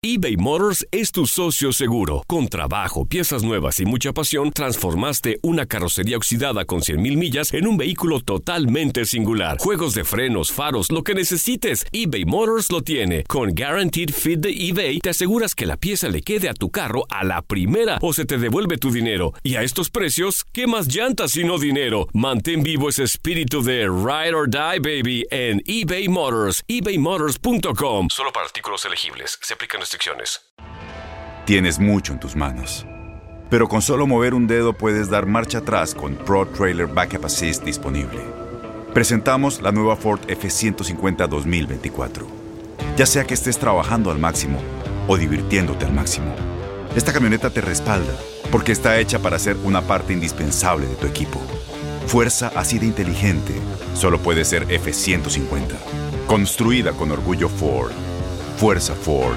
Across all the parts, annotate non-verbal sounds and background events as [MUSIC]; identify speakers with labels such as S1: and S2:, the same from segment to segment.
S1: eBay Motors es tu socio seguro. Con trabajo, piezas nuevas y mucha pasión, transformaste una carrocería oxidada con 100.000 millas en un vehículo totalmente singular. Juegos de frenos, faros, lo que necesites, eBay Motors lo tiene. Con Guaranteed Fit de eBay, te aseguras que la pieza le quede a tu carro a la primera o se te devuelve tu dinero. Y a estos precios, ¿qué más llantas y no dinero? Mantén vivo ese espíritu de Ride or Die, baby, en eBay Motors. ebaymotors.com. Solo para artículos elegibles. Se aplican restricciones.
S2: Tienes mucho en tus manos. Pero con solo mover un dedo puedes dar marcha atrás con Pro Trailer Backup Assist disponible. Presentamos la nueva Ford F150 2024. Ya sea que estés trabajando al máximo o divirtiéndote al máximo, esta camioneta te respalda porque está hecha para ser una parte indispensable de tu equipo. Fuerza así de inteligente solo puede ser F150. Construida con orgullo Ford. Fuerza Ford.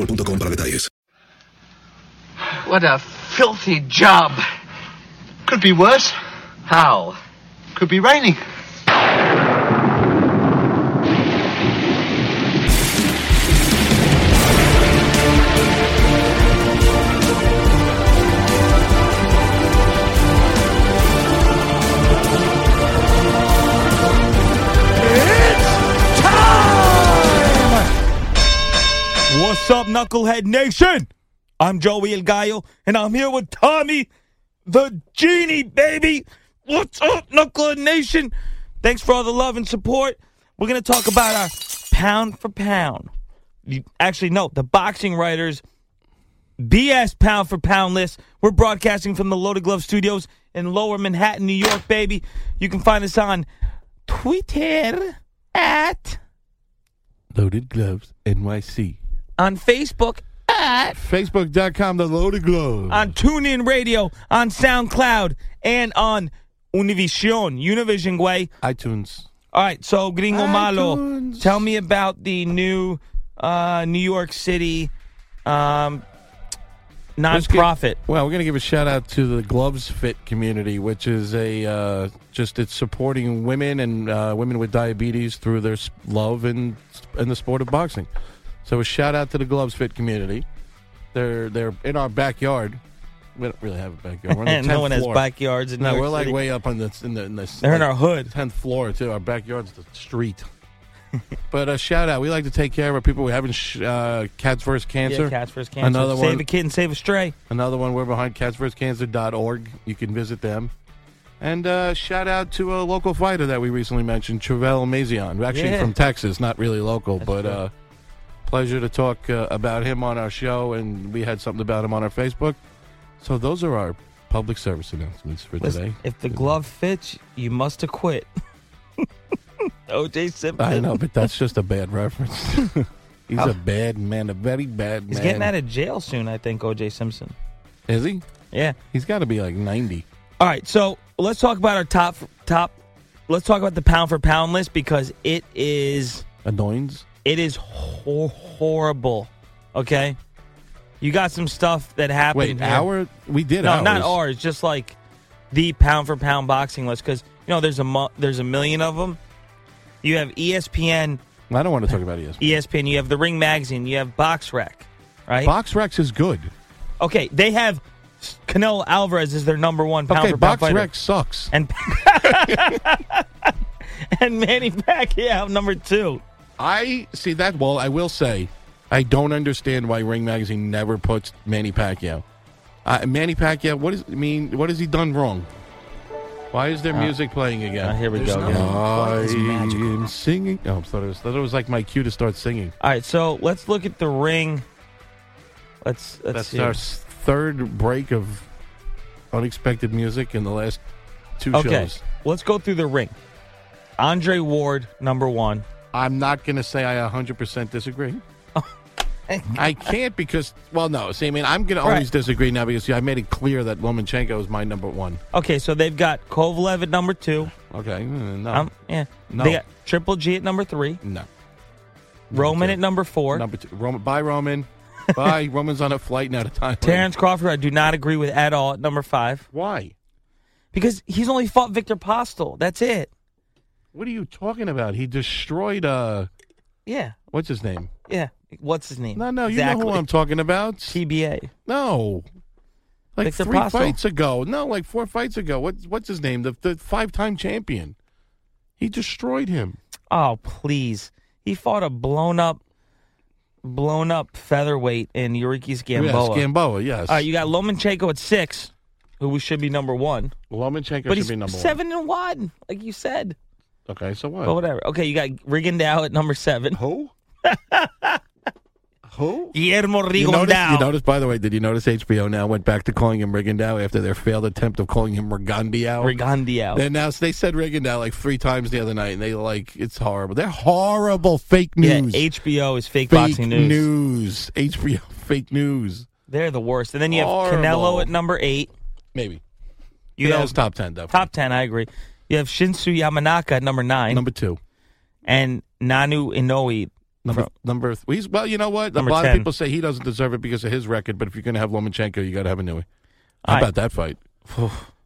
S3: para detalles.
S4: What a filthy job. Could be worse. How? Could be raining.
S5: What's up, Knucklehead Nation? I'm Joey El Gallo, and I'm here with Tommy the Genie, baby. What's up, Knucklehead Nation? Thanks for all the love and support. We're going to talk about our pound for pound. You- actually, no, the boxing writers BS pound for pound list. We're broadcasting from the Loaded Glove Studios in Lower Manhattan, New York, baby. You can find us on Twitter at
S6: Loaded Gloves NYC.
S5: on Facebook at
S6: Facebook.com, The Loaded Gloves.
S5: on TuneIn Radio, on SoundCloud, and on Univision, Univision way.
S6: iTunes.
S5: All right, so Gringo Malo,
S6: iTunes.
S5: tell me about the new uh, New York City um,
S6: Let's get-
S5: nonprofit.
S6: Well, we're going to give a shout out to the Gloves Fit community, which is a uh, just it's supporting women and uh, women with diabetes through their s- love and in the sport of boxing. So a shout out to the Gloves Fit community. They're they're in our backyard. We don't really have a backyard. We're on the
S5: And [LAUGHS]
S6: 10th
S5: no one has
S6: floor.
S5: backyards in
S6: No,
S5: New York
S6: we're like
S5: City.
S6: way up on this in the in the
S5: They're in our hood.
S6: tenth floor too. Our backyard's the street. [LAUGHS] but a shout out. We like to take care of our people. We haven't sh- uh, Cats vs Cancer.
S5: Yeah, Cats vs. Cancer.
S6: Another
S5: save
S6: one.
S5: a kid and save a stray.
S6: Another one. We're behind catsvscancer.org. You can visit them. And uh, shout out to a local fighter that we recently mentioned, Travell Mazion, actually
S5: Yeah.
S6: from Texas, not really local, but uh, pleasure to talk uh, about him on our show, and we had something about him on our Facebook. So those are our public service announcements for
S5: Listen,
S6: today.
S5: if the glove fits, you must acquit. [LAUGHS] OJ Simpson.
S6: I know, but that's just a bad
S5: [LAUGHS]
S6: reference. He's a bad man, a very bad
S5: He's
S6: man.
S5: getting out of jail soon, I think, OJ Simpson.
S6: Is he?
S5: Yeah.
S6: He's got to be like 90.
S5: All right, so let's talk about our top top. Let's talk about the pound for pound list because it is
S6: Annoyance?
S5: it is hor- horrible. Okay, you got some stuff that happened.
S6: Wait,
S5: here.
S6: our? We did
S5: No, not
S6: ours.
S5: ours. Just like the pound for pound boxing list because you know there's a mu- there's a million of them. You have E ESPN,
S6: I don't want to talk about E ESPN.
S5: ESPN. You have the Ring Magazine. You have Box Rec, right?
S6: Box Rex is good.
S5: okay, they have Canelo Alvarez is their number one pound
S6: okay,
S5: for pound
S6: Box
S5: fighter.
S6: Rex sucks.
S5: and [LAUGHS] and Manny Pacquiao number two.
S6: I see that. Well, I will say, I don't understand why Ring Magazine never puts Manny Pacquiao. Uh, Manny Pacquiao, what is I mean? What has he done wrong? Why is there music playing
S5: Uh,
S6: again?
S5: here we
S7: There's
S5: go.
S7: no-
S5: again.
S6: I
S7: It's magical.
S6: am Oh, singing. Oh, I thought it was, thought it was like my cue to start singing.
S5: All right, so let's look at the ring. Let's let's
S6: That's
S5: see.
S6: our s- third break of unexpected music in the last two
S5: okay,
S6: shows.
S5: let's go through the ring. Andre Ward, number one.
S6: I'm not going to say I
S5: [LAUGHS]
S6: 100% disagree. I can't because, well, no. See, I mean, I'm going to
S5: Right.
S6: always disagree now because see, I made it clear that Lomachenko is my number one.
S5: Okay, so they've got Kovalev at number two.
S6: Okay, mm, no,
S5: Um, yeah,
S6: No.
S5: they got Triple G at number three.
S6: no.
S5: Roman
S6: two.
S5: at number four.
S6: Number two, Roman.
S5: [LAUGHS]
S6: Bye, Roman. Bye, Roman's on a flight now to Thailand.
S5: Terrence Crawford, I do not agree with at all at number five
S6: why?
S5: because he's only fought Victor Postel. That's it.
S6: What are you talking about? He destroyed. uh
S5: Yeah,
S6: What's his name?
S5: yeah. What's his name?
S6: No, no, you
S5: exactly.
S6: know who I'm talking about.
S5: TBA.
S6: No. Like
S5: Victor
S6: three
S5: Passo.
S6: fights ago. No, like four fights ago. What, what's his name? The, the five time champion. He destroyed him.
S5: Oh, please. He fought a blown up, blown up featherweight in Eurikis Gamboa.
S6: Yes, Oh, Gamboa, yes.
S5: All right, you got Lomachenko at six, who should be number one,
S6: Lomachenko
S5: but
S6: should
S5: he's
S6: be number
S5: seven and one, like you said.
S6: one. Okay, so what?
S5: But whatever. Okay, you got Rigondeaux at number seven.
S6: Who? Who?
S5: Guillermo
S6: Oh. You notice, you
S5: Rigondeaux.
S6: notice, by the way, did you notice HBO now went back to calling him Rigondeaux after their failed attempt of calling him Rigondeaux?
S5: Rigondeaux.
S6: They announced they said Rigondeaux like three times the other night, and they like it's horrible. They're horrible fake
S5: Yeah,
S6: news.
S5: HBO is fake,
S6: fake
S5: boxing news.
S6: news. HBO fake news.
S5: They're the worst. And then you have
S6: Horrible.
S5: Canelo at number eight.
S6: Maybe.
S5: You
S6: that
S5: have
S6: was top ten, definitely.
S5: top ten, I agree. You have Shinsu Yamanaka at number nine
S6: number two.
S5: and Nanu Inoue.
S6: Number number th- he's, well, you know what?
S5: Number
S6: a lot
S5: 10.
S6: of people say he doesn't deserve it because of his record, but if you're going to have Lomachenko, you got to have a new one. How
S5: All right.
S6: about that fight?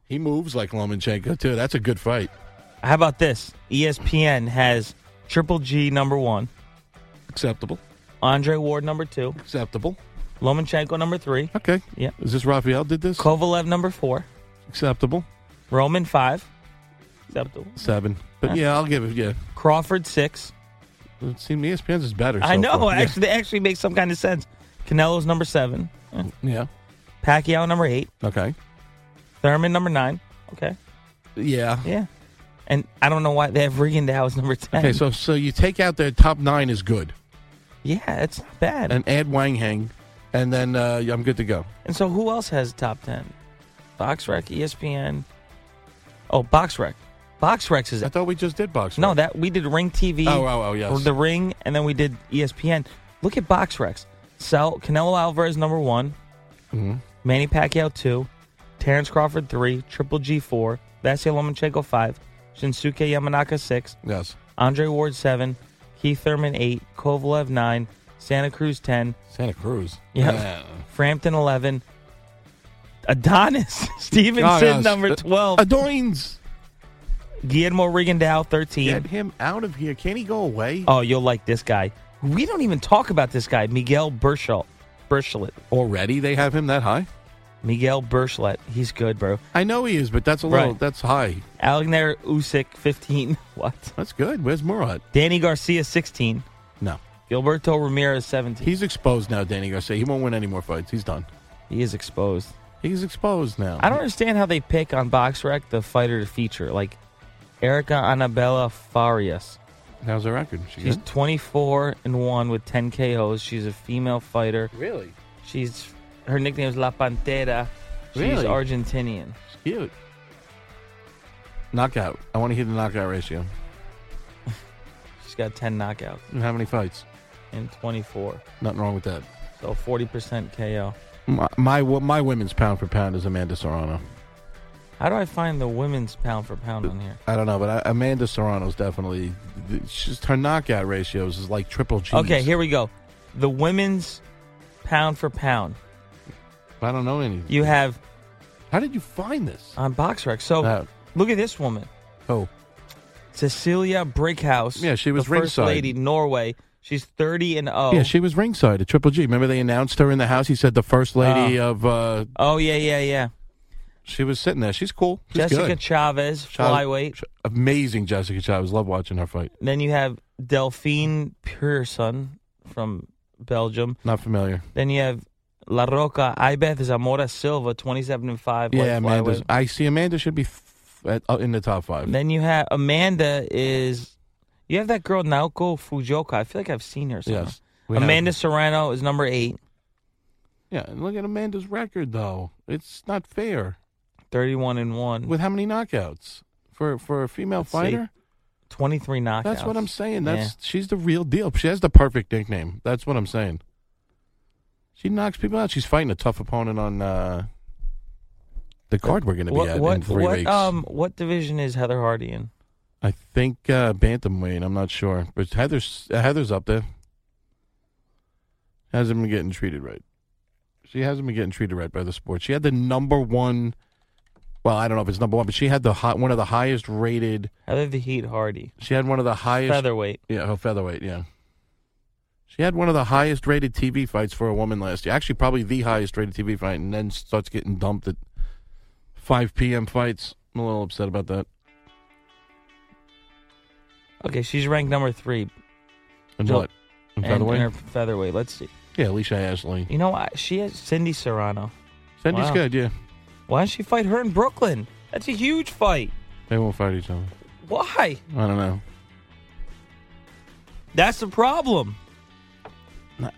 S6: he moves like Lomachenko too. That's a good fight.
S5: How about this? E ESPN has Triple G number one,
S6: Acceptable.
S5: Andre Ward number two,
S6: Acceptable.
S5: Lomachenko number three,
S6: Okay.
S5: Yeah.
S6: Is this Raphael did this?
S5: Kovalev number four,
S6: Acceptable.
S5: Roman five, acceptable,
S6: Seven. But
S5: Huh.
S6: yeah, I'll give it. Yeah.
S5: Crawford six.
S6: It seems ESPN's is better.
S5: I
S6: so
S5: know.
S6: far. Yeah.
S5: [LAUGHS] Actually, they actually makes some kind of sense. Canelo's number seven,
S6: Yeah.
S5: Pacquiao number eight,
S6: Okay.
S5: Thurman number nine. Okay,
S6: Yeah.
S5: yeah. And I don't know why they have Rigondeaux as number ten.
S6: Okay. So so you take out their top nine is good,
S5: yeah, it's not bad. And,
S6: and add Wang Hang, and then uh, I'm good to go.
S5: so who else has top ten? E BoxRec, ESPN. Oh, BoxRec. BoxRec is
S6: I thought we just did boxing.
S5: No, that we did Ring TV.
S6: Oh, oh, oh, yes.
S5: The Ring, and then we did E ESPN. Look at Box Rex. Sal Canelo Alvarez number one,
S6: Mm-hmm.
S5: Manny Pacquiao two, Terrence Crawford three, Triple G four, Vasily Lomachenko five, Shinsuke Yamanaka six,
S6: Yes.
S5: Andre Ward seven, Keith Thurman eight, Kovalev nine, Santa Cruz ten,
S6: Santa Cruz.
S5: Yeah.
S6: Uh,
S5: Frampton eleven, Adonis [LAUGHS] Stevenson
S6: Oh, yes.
S5: number twelve,
S6: Adoins.
S5: Guillermo Rigondeaux thirteen.
S6: Get him out of here. Can he go away?
S5: Oh, you'll like this guy. We don't even talk about this guy, Miguel Burchelt. Burchelt.
S6: Already they have him that high?
S5: Miguel Burchelt. He's good, bro.
S6: I know he is, but that's a
S5: Right.
S6: little that's high.
S5: Alexander Usyk, 15. [LAUGHS] What?
S6: That's good. Where's Murat?
S5: Danny Garcia, 16.
S6: No.
S5: Gilberto Ramirez, 17.
S6: He's exposed now, Danny Garcia. He won't win any more fights. He's done.
S5: He is exposed.
S6: He's exposed now.
S5: I don't understand how they pick on BoxRec the fighter to feature. Like, Erica Anabella Farias.
S6: How's the record? She
S5: She's
S6: good?
S5: 24 and 1 with 10 KOs. She's a female fighter.
S6: really
S5: She's her nickname is La Pantera. She's
S6: Really?
S5: Argentinian.
S6: She's cute. Knockout. I want to hear the knockout ratio.
S5: She's got 10 knockouts.
S6: How many fights?
S5: and 24.
S6: Nothing wrong with that.
S5: So 40% KO.
S6: My my, wo- my women's pound for pound is Amanda Serrano.
S5: How do I find the women's pound for pound on here?
S6: I don't know, but I, Amanda Serrano's definitely. It's just her knockout ratios is like triple G.
S5: Okay, here we go. The women's pound for pound.
S6: I don't know any.
S5: You have
S6: How did you find this?
S5: on BoxRec. So
S6: Uh,
S5: look at this woman,
S6: oh,
S5: Cecilia Brickhouse.
S6: Yeah, she was
S5: the first
S6: ringside.
S5: lady, Norway. She's 30 and oh. 0.
S6: yeah, she was ringside at Triple G. Remember they announced her in the house. He said the first lady of. uh
S5: oh yeah, yeah, yeah.
S6: She was sitting there. She's cool. She's
S5: Jessica
S6: good.
S5: Chavez,
S6: Child-
S5: flyweight.
S6: Ch- amazing Jessica Chavez. Love watching her fight.
S5: Then you have Delphine Pearson from Belgium.
S6: Not familiar.
S5: Then you have La Roca Ibeth Zamora Silva, 27 and 5. light
S6: yeah, Amanda.
S5: flyweight.
S6: I see Amanda should be f- at, uh, in the top five.
S5: Then you have Amanda is you have that girl Naoko Fujoka. I feel like I've seen her somewhere.
S6: Yes, we have.
S5: Amanda Serrano is number eight,
S6: Yeah, and look at Amanda's record though. It's not fair.
S5: 31 and 1.
S6: With how many knockouts for for a female
S5: Mm. Let's see.
S6: fighter?
S5: 23 knockouts.
S6: That's what I'm saying. That's she's the real deal. She has the perfect nickname. That's what I'm saying. She knocks people out. She's fighting a tough opponent on uh, the card we're going to be
S5: what
S6: at
S5: what,
S6: in three
S5: what,
S6: weeks.
S5: um what division is Heather Hardy in?
S6: I think uh, bantamweight. I'm not sure, but Heather's uh, Heather's up there. Hasn't been getting treated right. She hasn't been getting treated right by the sport. She had the number one. Well, I don't know if it's number one, but she had the hot, one of the highest rated.
S5: Heather the Heat Hardy.
S6: She had one of the highest.
S5: Featherweight.
S6: Yeah, her featherweight. Yeah. She had one of the highest rated TV fights for a woman last year. Actually, probably the highest rated TV fight, and then starts getting dumped at 5 p.m. fights. I'm a little upset about that.
S5: Okay, she's ranked number 3
S6: And
S5: Jill-
S6: what? In
S5: and,
S6: featherweight?
S5: and her featherweight. Let's see.
S6: yeah, Alicia Ashley.
S5: You know, I, she has Cindy Serrano.
S6: Cindy's
S5: Wow.
S6: good, yeah.
S5: Why don't she fight her in Brooklyn? That's a huge fight.
S6: They won't fight each other.
S5: Why?
S6: I don't know.
S5: That's the problem.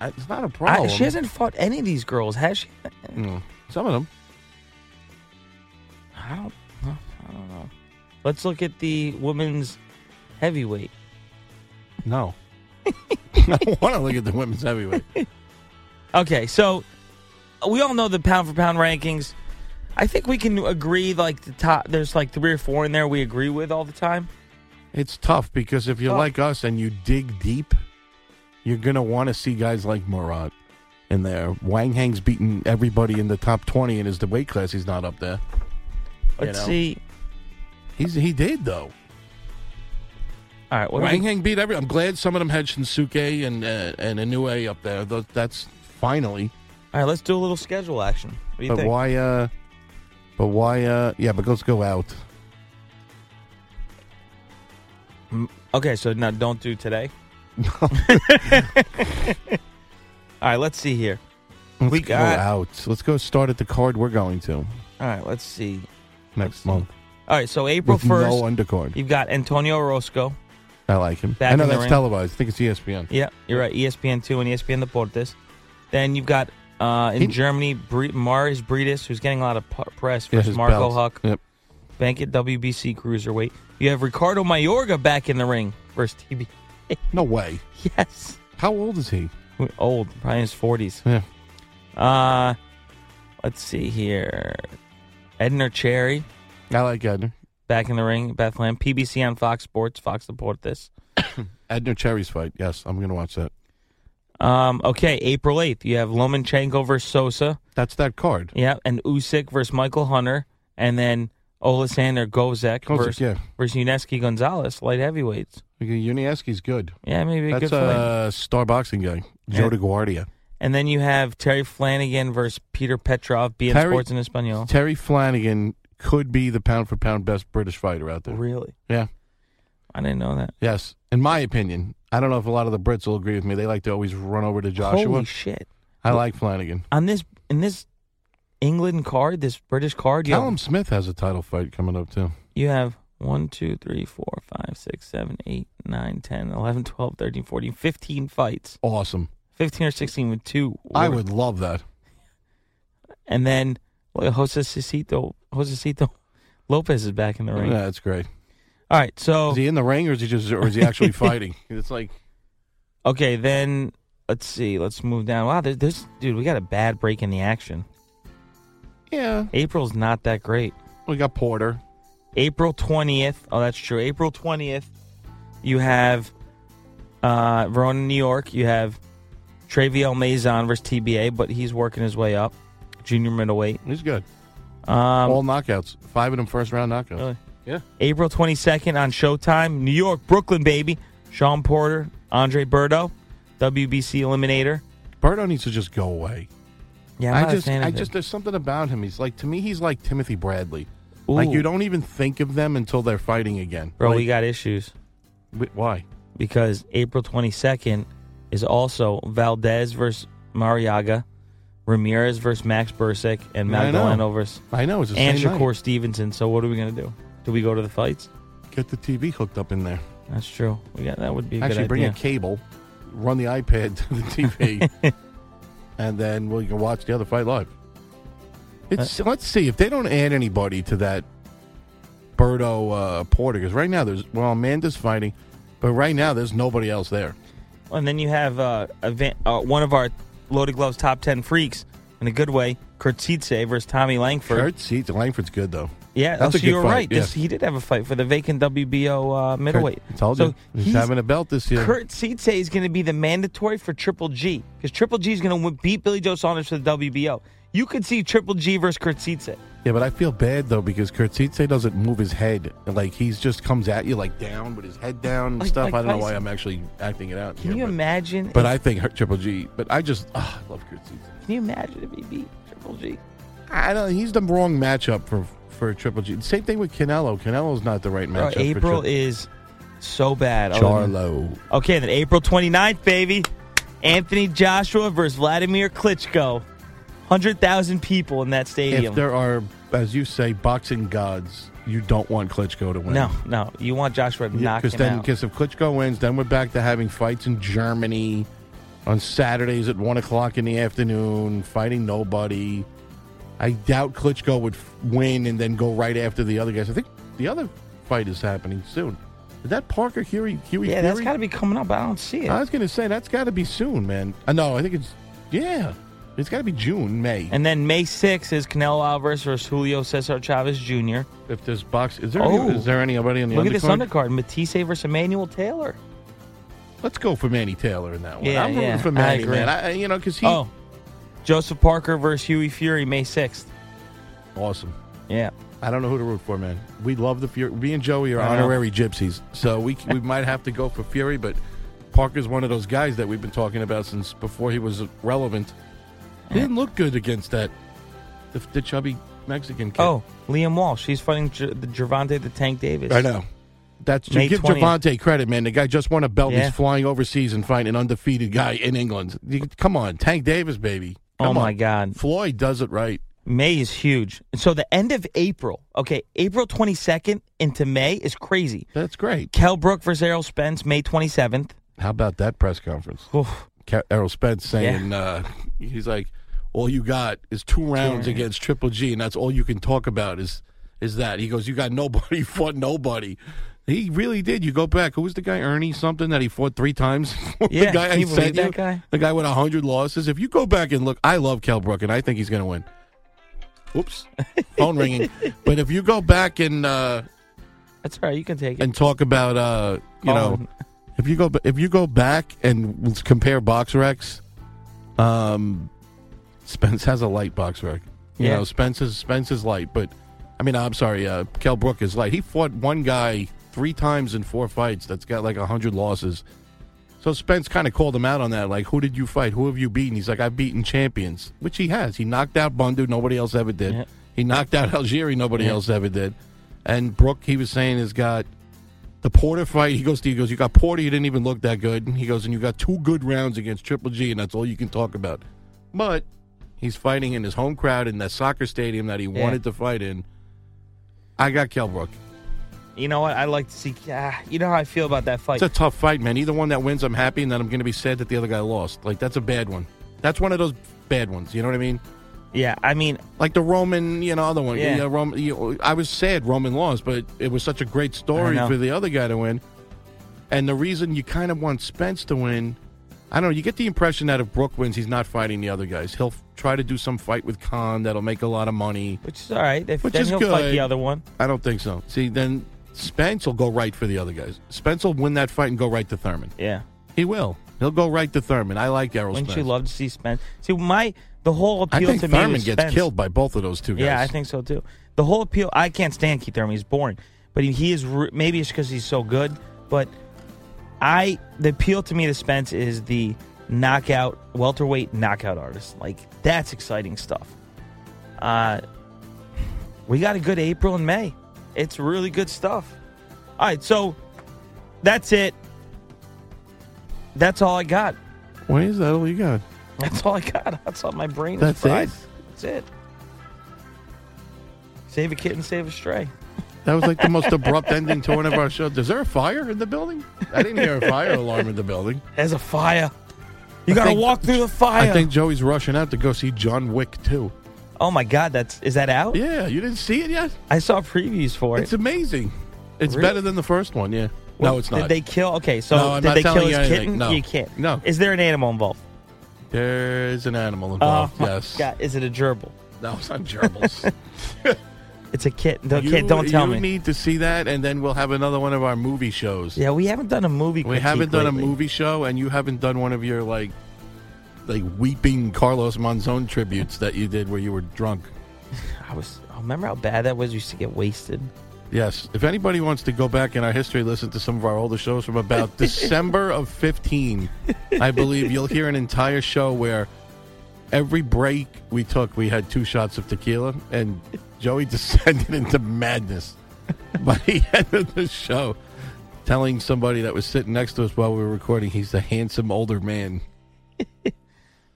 S6: It's not a
S5: I-
S6: problem. Mm.
S5: she hasn't fought any of these girls, has she?
S6: No. Some of them.
S5: I don't, I don't know. Let's look at the women's heavyweight. [LAUGHS]
S6: No. [LAUGHS] I want to look at the women's heavyweight.
S5: Okay, so we all know the pound for pound rankings. I think we can agree like the top. There's like three or four in there we agree with all the time.
S6: It's tough because if you're
S5: Tough.
S6: like us and you dig deep, you're going to want to see guys like Murat in there. Wang Hang's beaten everybody in the top 20 and is the weight class he's not up there.
S5: Let's
S6: know.
S5: see.
S6: He's He did, though.
S5: All right, what do
S6: Wang
S5: we-
S6: Hang beat every. I'm glad some of them had Shinsuke and, uh, and Inoue up there. Tho- That's finally.
S5: all right. Let's do a little schedule action. What do you
S6: But
S5: think?
S6: why? uh But why? uh Yeah, but let's go out.
S5: Okay, so now don't do
S6: [LAUGHS]
S5: today. all right, let's see here.
S6: Let's
S5: We
S6: go
S5: got-
S6: out. Let's go start at the card we're going to
S5: All right, let's see.
S6: next month
S5: All right, so April
S6: with
S5: first,
S6: no undercard.
S5: you've got Antonio Orozco.
S6: I like him.
S5: Back
S6: I know
S5: in the
S6: that's
S5: ring.
S6: televised. I think it's E ESPN.
S5: Yeah, you're right. E ESPN two and ESPN Deportes. Then you've got uh, in
S6: He-
S5: Germany Bre- Marius Bredis, who's getting a lot of pu- press
S6: Yeah,
S5: versus
S6: his
S5: Marco
S6: belt.
S5: Huck.
S6: Yep.
S5: Bank at WBC cruiserweight. You have Ricardo Mayorga back in the ring versus TB.
S6: No way.
S5: [LAUGHS] Yes,
S6: How old is he?
S5: old, probably in his forties.
S6: Yeah.
S5: Uh, let's see here. Edner Cherry
S6: I like Edner.
S5: back in the ring. Bethlehem PBC on Fox Sports, Fox Deportes.
S6: Edner Cherry's fight. Yes, I'm going to watch that.
S5: Um, okay, April eighth, you have Lomachenko versus Sosa.
S6: That's that card.
S5: Yeah, and Usyk versus Michael Hunter, and then Olesander Gozek,
S6: Gozek,
S5: versus,
S6: yeah.
S5: versus Uneski Gonzalez, light heavyweights.
S6: Unieski's good.
S5: Yeah, maybe a
S6: That's uh,
S5: good fight.
S6: a star boxing guy. Joe
S5: Yeah.
S6: DeGuardia.
S5: and then you have Terry Flanagan versus Peter Petrov, being
S6: Terry-
S5: Sports in Espanol.
S6: Terry Flanagan could be the pound for pound best British fighter out there.
S5: Really?
S6: Yeah.
S5: I didn't know that.
S6: Yes, in my opinion, I don't know if a lot of the Brits will agree with me. They like to always run over to Joshua.
S5: Holy shit!
S6: I like Flanagan.
S5: On this in this England card, this British card, you have,
S6: Callum Smith has a title fight coming up too.
S5: you have. 1, 2, 3, 4, 5, 6, 7, 8, 9, 10, 11, 12, 13, 14, 15 fights.
S6: Awesome.
S5: 15 or 16 with two.
S6: I
S5: world
S6: would love that.
S5: And then well, Jose Cito, Jose Cito [LAUGHS] Lopez is back in the ring.
S6: Yeah, that's great.
S5: All right, so
S6: Is he in the ring or is he just or is
S5: [LAUGHS]
S6: he actually fighting? It's like
S5: okay, then let's see. Let's move down. Wow, there, there's dude, we got a bad break in the action.
S6: yeah,
S5: April's not that great.
S6: we got Porter.
S5: April twentieth. Oh, that's true. April twentieth. You have uh, Verona, New York. You have Traviel Mazon versus TBA, but he's working his way up, junior middleweight.
S6: He's good.
S5: Um,
S6: All knockouts. Five of them first round knockouts.
S5: Really?
S6: Yeah.
S5: April 22nd on Showtime, New York, Brooklyn, baby. Sean Porter, Andre Berto, WBC Eliminator.
S6: Berto needs to just go away.
S5: Yeah, I'm
S6: I
S5: not
S6: just
S5: a fan
S6: I
S5: of
S6: just
S5: it.
S6: there's something about him. He's like to me he's like Timothy Bradley. Like
S5: Ooh.
S6: you don't even think of them until they're fighting again.
S5: Bro, we
S6: Like,
S5: got issues
S6: wh- why?
S5: because April 22nd, is also Valdez versus Mariaga, Ramirez versus Max Bursick, and
S6: I know.
S5: Magdaleno versus
S6: I know, it's the
S5: and
S6: same night.
S5: Shakur Stevenson. So what are we gonna do? Do we go to the fights?
S6: Get the TV hooked up in there.
S5: That's true. We got, that would be a
S6: Actually,
S5: good
S6: bring
S5: idea.
S6: a cable, run the iPad [LAUGHS] to the
S5: [LAUGHS]
S6: TV, and then we can watch the other fight live.
S5: Uh,
S6: It's let's see if they don't add anybody to that Birdo uh, Porter because right now there's well Amanda's fighting, but right now there's nobody else there.
S5: And then you have uh, event, uh, one of our Loaded Gloves top 10 freaks, in a good way, Kurtzitze versus Tommy Langford.
S6: Kurt Seats Langford's good though.
S5: Yeah,
S6: that's
S5: oh, so
S6: a good
S5: you're
S6: fight,
S5: right. This,
S6: yeah.
S5: he did have a fight for the vacant WBO uh,
S6: Kurt-
S5: middleweight.
S6: told
S5: so
S6: you he's, having a belt this year.
S5: Kurt Seitze is going to be the mandatory for Triple G because Triple G is going to beat Billy Joe Saunders for the WBO. You could see Triple G versus Kurt Seitze.
S6: Yeah, but I feel bad though because Kurtzite doesn't move his head. Like he's just comes at you like down with his head down and
S5: Like- like
S6: stuff. I don't know why
S5: Tyson.
S6: I'm actually acting it out.
S5: Can
S6: here,
S5: you
S6: but,
S5: imagine?
S6: But
S5: if-
S6: I think her, Triple G. But I just ah, I love Kurtzite.
S5: can you imagine if he beat Triple G?
S6: I don't. He's the wrong matchup for for Triple G. Same thing with Canelo. Canelo's not the right
S5: Bro,
S6: matchup.
S5: April
S6: for Tri-
S5: is so bad. other than-
S6: Charlo.
S5: Okay, then April 29th, baby. Anthony Joshua versus Vladimir Klitschko. 100,000 people in that
S6: If
S5: stadium.
S6: there are, as you say, boxing gods, you don't want Klitschko to win.
S5: No, no. You want Joshua to knock him
S6: Because then,
S5: out.
S6: because if Klitschko wins, then we're back to having fights in Germany on Saturdays at one o'clock in the afternoon, fighting nobody. I doubt Klitschko would f- win and then go right after the other guys. I think the other fight is happening soon. Is that Parker Huey? Huey
S5: yeah, that's
S6: Fury?
S5: got to be coming up. I don't see it.
S6: I was gonna say that's got to be soon, man. Uh, no, I think it's yeah, it's got to be June, May.
S5: and then May 6th is Canelo Alvarez versus Julio Cesar Chavez Jr.
S6: if this box is there,
S5: Oh.
S6: any, is there anybody on the
S5: Look
S6: undercard?
S5: at this undercard. Matisse versus Emmanuel Taylor.
S6: Let's go for Manny Taylor in that one.
S5: Yeah,
S6: I'm rooting
S5: yeah,
S6: for
S5: I
S6: Manny,
S5: agree.
S6: man. I, you know, because he
S5: oh, Joseph Parker versus Huey Fury, May 6th.
S6: awesome.
S5: Yeah.
S6: I don't know who to root for, man. We love the Fury. Me and Joey are
S5: I know.
S6: honorary gypsies, so we we [LAUGHS] might have to go for Fury, but Parker's one of those guys that we've been talking about since before he was relevant. He didn't look good against that the, the chubby Mexican kid.
S5: Oh, Liam Walsh. He's fighting J- the Gervonta the Tank Davis.
S6: I know. That's you
S5: May
S6: give
S5: 20th.
S6: Javante credit, man. The guy just won a belt. and
S5: Yeah.
S6: He's flying overseas and fighting an undefeated guy in England. You- come on, Tank Davis, baby.
S5: Oh,
S6: Come
S5: my
S6: on.
S5: God.
S6: Floyd does it right.
S5: May is huge. And so the end of April, okay, April 22nd into May is crazy.
S6: That's great.
S5: Kel Brook versus Errol Spence, May 27th.
S6: How about that press conference?
S5: Oof.
S6: Ca- Errol Spence saying uh, he's like, all you got is two rounds against Triple G, and that's all you can talk about is is that. He goes, you got nobody, [LAUGHS] you fought nobody. He really did. You go back. Who was the guy, Ernie something, that he fought three times? [LAUGHS]
S5: Yeah,
S6: the guy
S5: can
S6: I
S5: you believe
S6: sent
S5: that
S6: you?
S5: guy?
S6: The guy with hundred losses. If you go back and look, I love Cal Brook, and I think he's going to win. Oops,
S5: [LAUGHS]
S6: phone ringing. But if you go back and uh,
S5: That's all right. You can take it.
S6: and talk about uh, you know,
S5: Colin.
S6: if you go if you go back and compare box wrecks, um, Spence has a light box wreck. You
S5: Yeah.
S6: know, Spence is Spence is light, but I mean, I'm sorry, uh, Kell Brook is light. He fought one guy three times in four fights that's got like hundred losses. So Spence kind of called him out on that, like, "Who did you fight? Who have you beaten?" He's like, "I've beaten champions," which he has. He knocked out Bundu, nobody else ever did.
S5: Yeah.
S6: He knocked out Algieri, nobody else ever did. And Brook, he was saying, has got the Porter fight, he goes to you, he goes, You got Porter, you didn't even look that good. And he goes, And you got two good rounds against Triple G, and that's all you can talk about. But he's fighting in his home crowd in that soccer stadium that he
S5: Yeah.
S6: wanted to fight in. I got Kelbrook.
S5: you know what? I like to see. Ah, you know how I feel about that fight.
S6: It's a tough fight, man. Either one that wins, I'm happy, and then I'm going to be sad that the other guy lost. Like, that's a bad one. That's one of those bad ones. You know what I mean?
S5: yeah, I mean,
S6: Like the Roman, you know, other one.
S5: Yeah.
S6: Yeah. Roman, you, I was sad Roman lost, but it was such a great story
S5: I know.
S6: for the other guy to win. And the reason you kind of want Spence to win, I don't know, you get the impression that if Brook wins, he's not fighting the other guys. He'll f- try to do some fight with Khan that'll make a lot of money.
S5: which is all right. If,
S6: Which
S5: then
S6: is
S5: he'll fight the
S6: good.
S5: other one.
S6: I don't think so. See, then Spence will go right for the other guys. Spence will win that fight and go right to Thurman.
S5: Yeah.
S6: He will. He'll go right to Thurman. I like Errol
S5: Wouldn't
S6: Spence.
S5: you love to see Spence? See, my the whole
S6: I
S5: appeal
S6: think
S5: to me
S6: Thurman
S5: was
S6: gets
S5: Spence.
S6: killed by both of those two guys.
S5: Yeah, I think so too. The whole appeal. I can't stand Keith Thurman. He's boring, but he, he is. re- Maybe it's because he's so good. But I, the appeal to me to Spence is the knockout welterweight knockout artist. Like that's exciting stuff. Uh, we got a good April and May. It's really good stuff. All right, so that's it. That's all I got.
S6: When is that all you got?
S5: That's all I got. [LAUGHS] That's all my brain
S6: That's
S5: is fried.
S6: it?
S5: That's it. Save a kitten, save a stray.
S6: That was like the most abrupt ending to one of our shows. Is there a fire in the building? I didn't hear a fire alarm in the building.
S5: There's a fire. You
S6: I
S5: gotta
S6: think-
S5: walk through the fire.
S6: I think Joey's rushing out to go see John Wick too.
S5: oh my god, that's is that out?
S6: Yeah, you didn't see it yet?
S5: I saw previews for
S6: It's
S5: it.
S6: amazing. It's
S5: Really?
S6: better than the first one, yeah. no, it's not.
S5: Did they kill? Okay, so
S6: No, I'm
S5: did
S6: not
S5: they
S6: telling
S5: kill
S6: you
S5: his
S6: anything.
S5: kitten?
S6: No.
S5: You can't.
S6: No.
S5: Is there an animal involved?
S6: There's an animal
S5: Oh
S6: involved,
S5: my
S6: Uh, yes.
S5: god, is it a gerbil?
S6: No, it's
S5: [LAUGHS]
S6: not gerbils.
S5: It's a kitten. Don't,
S6: You-
S5: kid, don't tell
S6: you
S5: me.
S6: need to see that, and then we'll have another one of our movie shows.
S5: yeah, we haven't done a movie.
S6: We haven't
S5: critique
S6: done
S5: lately.
S6: a movie show, and you haven't done one of your like, like weeping Carlos Monzon tributes that you did where you were drunk.
S5: I was. oh, Remember how bad that was? We used to get wasted.
S6: Yes. If anybody wants to go back in our history, listen to some of our older shows from about December of 15, I believe you'll hear an entire show where every break we took, we had two shots of tequila, and Joey [LAUGHS] descended into madness by [LAUGHS] the end of the show, telling somebody that was sitting next to us while we were recording, he's a handsome older man.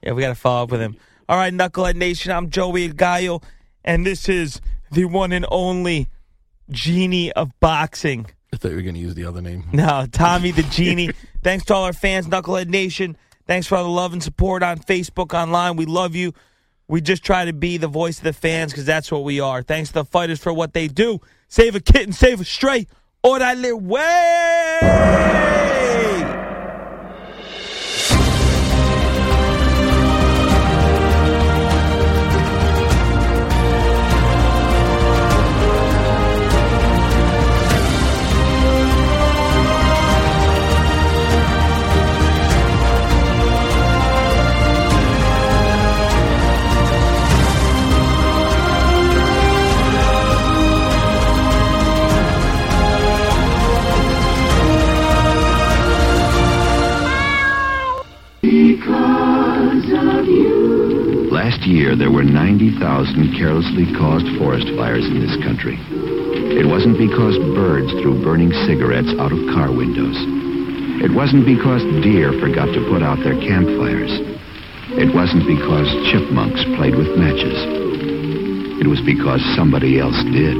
S5: Yeah, we got to follow up with him. All right, Knucklehead Nation, I'm Joey Gallo, and this is the one and only genie of boxing.
S6: I thought you were going to use the other name.
S5: No, Tommy the Genie. Thanks to all our fans, Knucklehead Nation. Thanks for all the love and support on Facebook, online. We love you. We just try to be the voice of the fans because that's what we are. Thanks to the fighters for what they do. Save a kitten, save a stray. Orale way!
S8: Last year, there were 90,000 carelessly caused forest fires in this country. It wasn't because birds threw burning cigarettes out of car windows. It wasn't because deer forgot to put out their campfires. It wasn't because chipmunks played with matches. It was because somebody else did.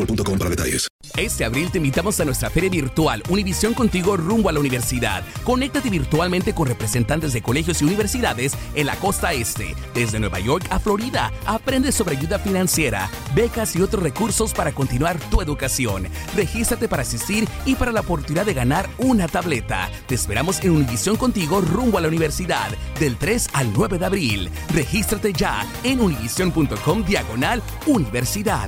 S3: para detalles.
S9: Este abril te invitamos a nuestra feria virtual Univisión Contigo rumbo a la universidad. Conéctate virtualmente con representantes de colegios y universidades en la costa este, desde Nueva York a Florida. Aprende sobre ayuda financiera, becas y otros recursos para continuar tu educación. Regístrate para asistir y para la oportunidad de ganar una tableta. Te esperamos en Univisión Contigo rumbo a la universidad del 3 al 9 de abril. Regístrate ya en univision.com diagonal universidad.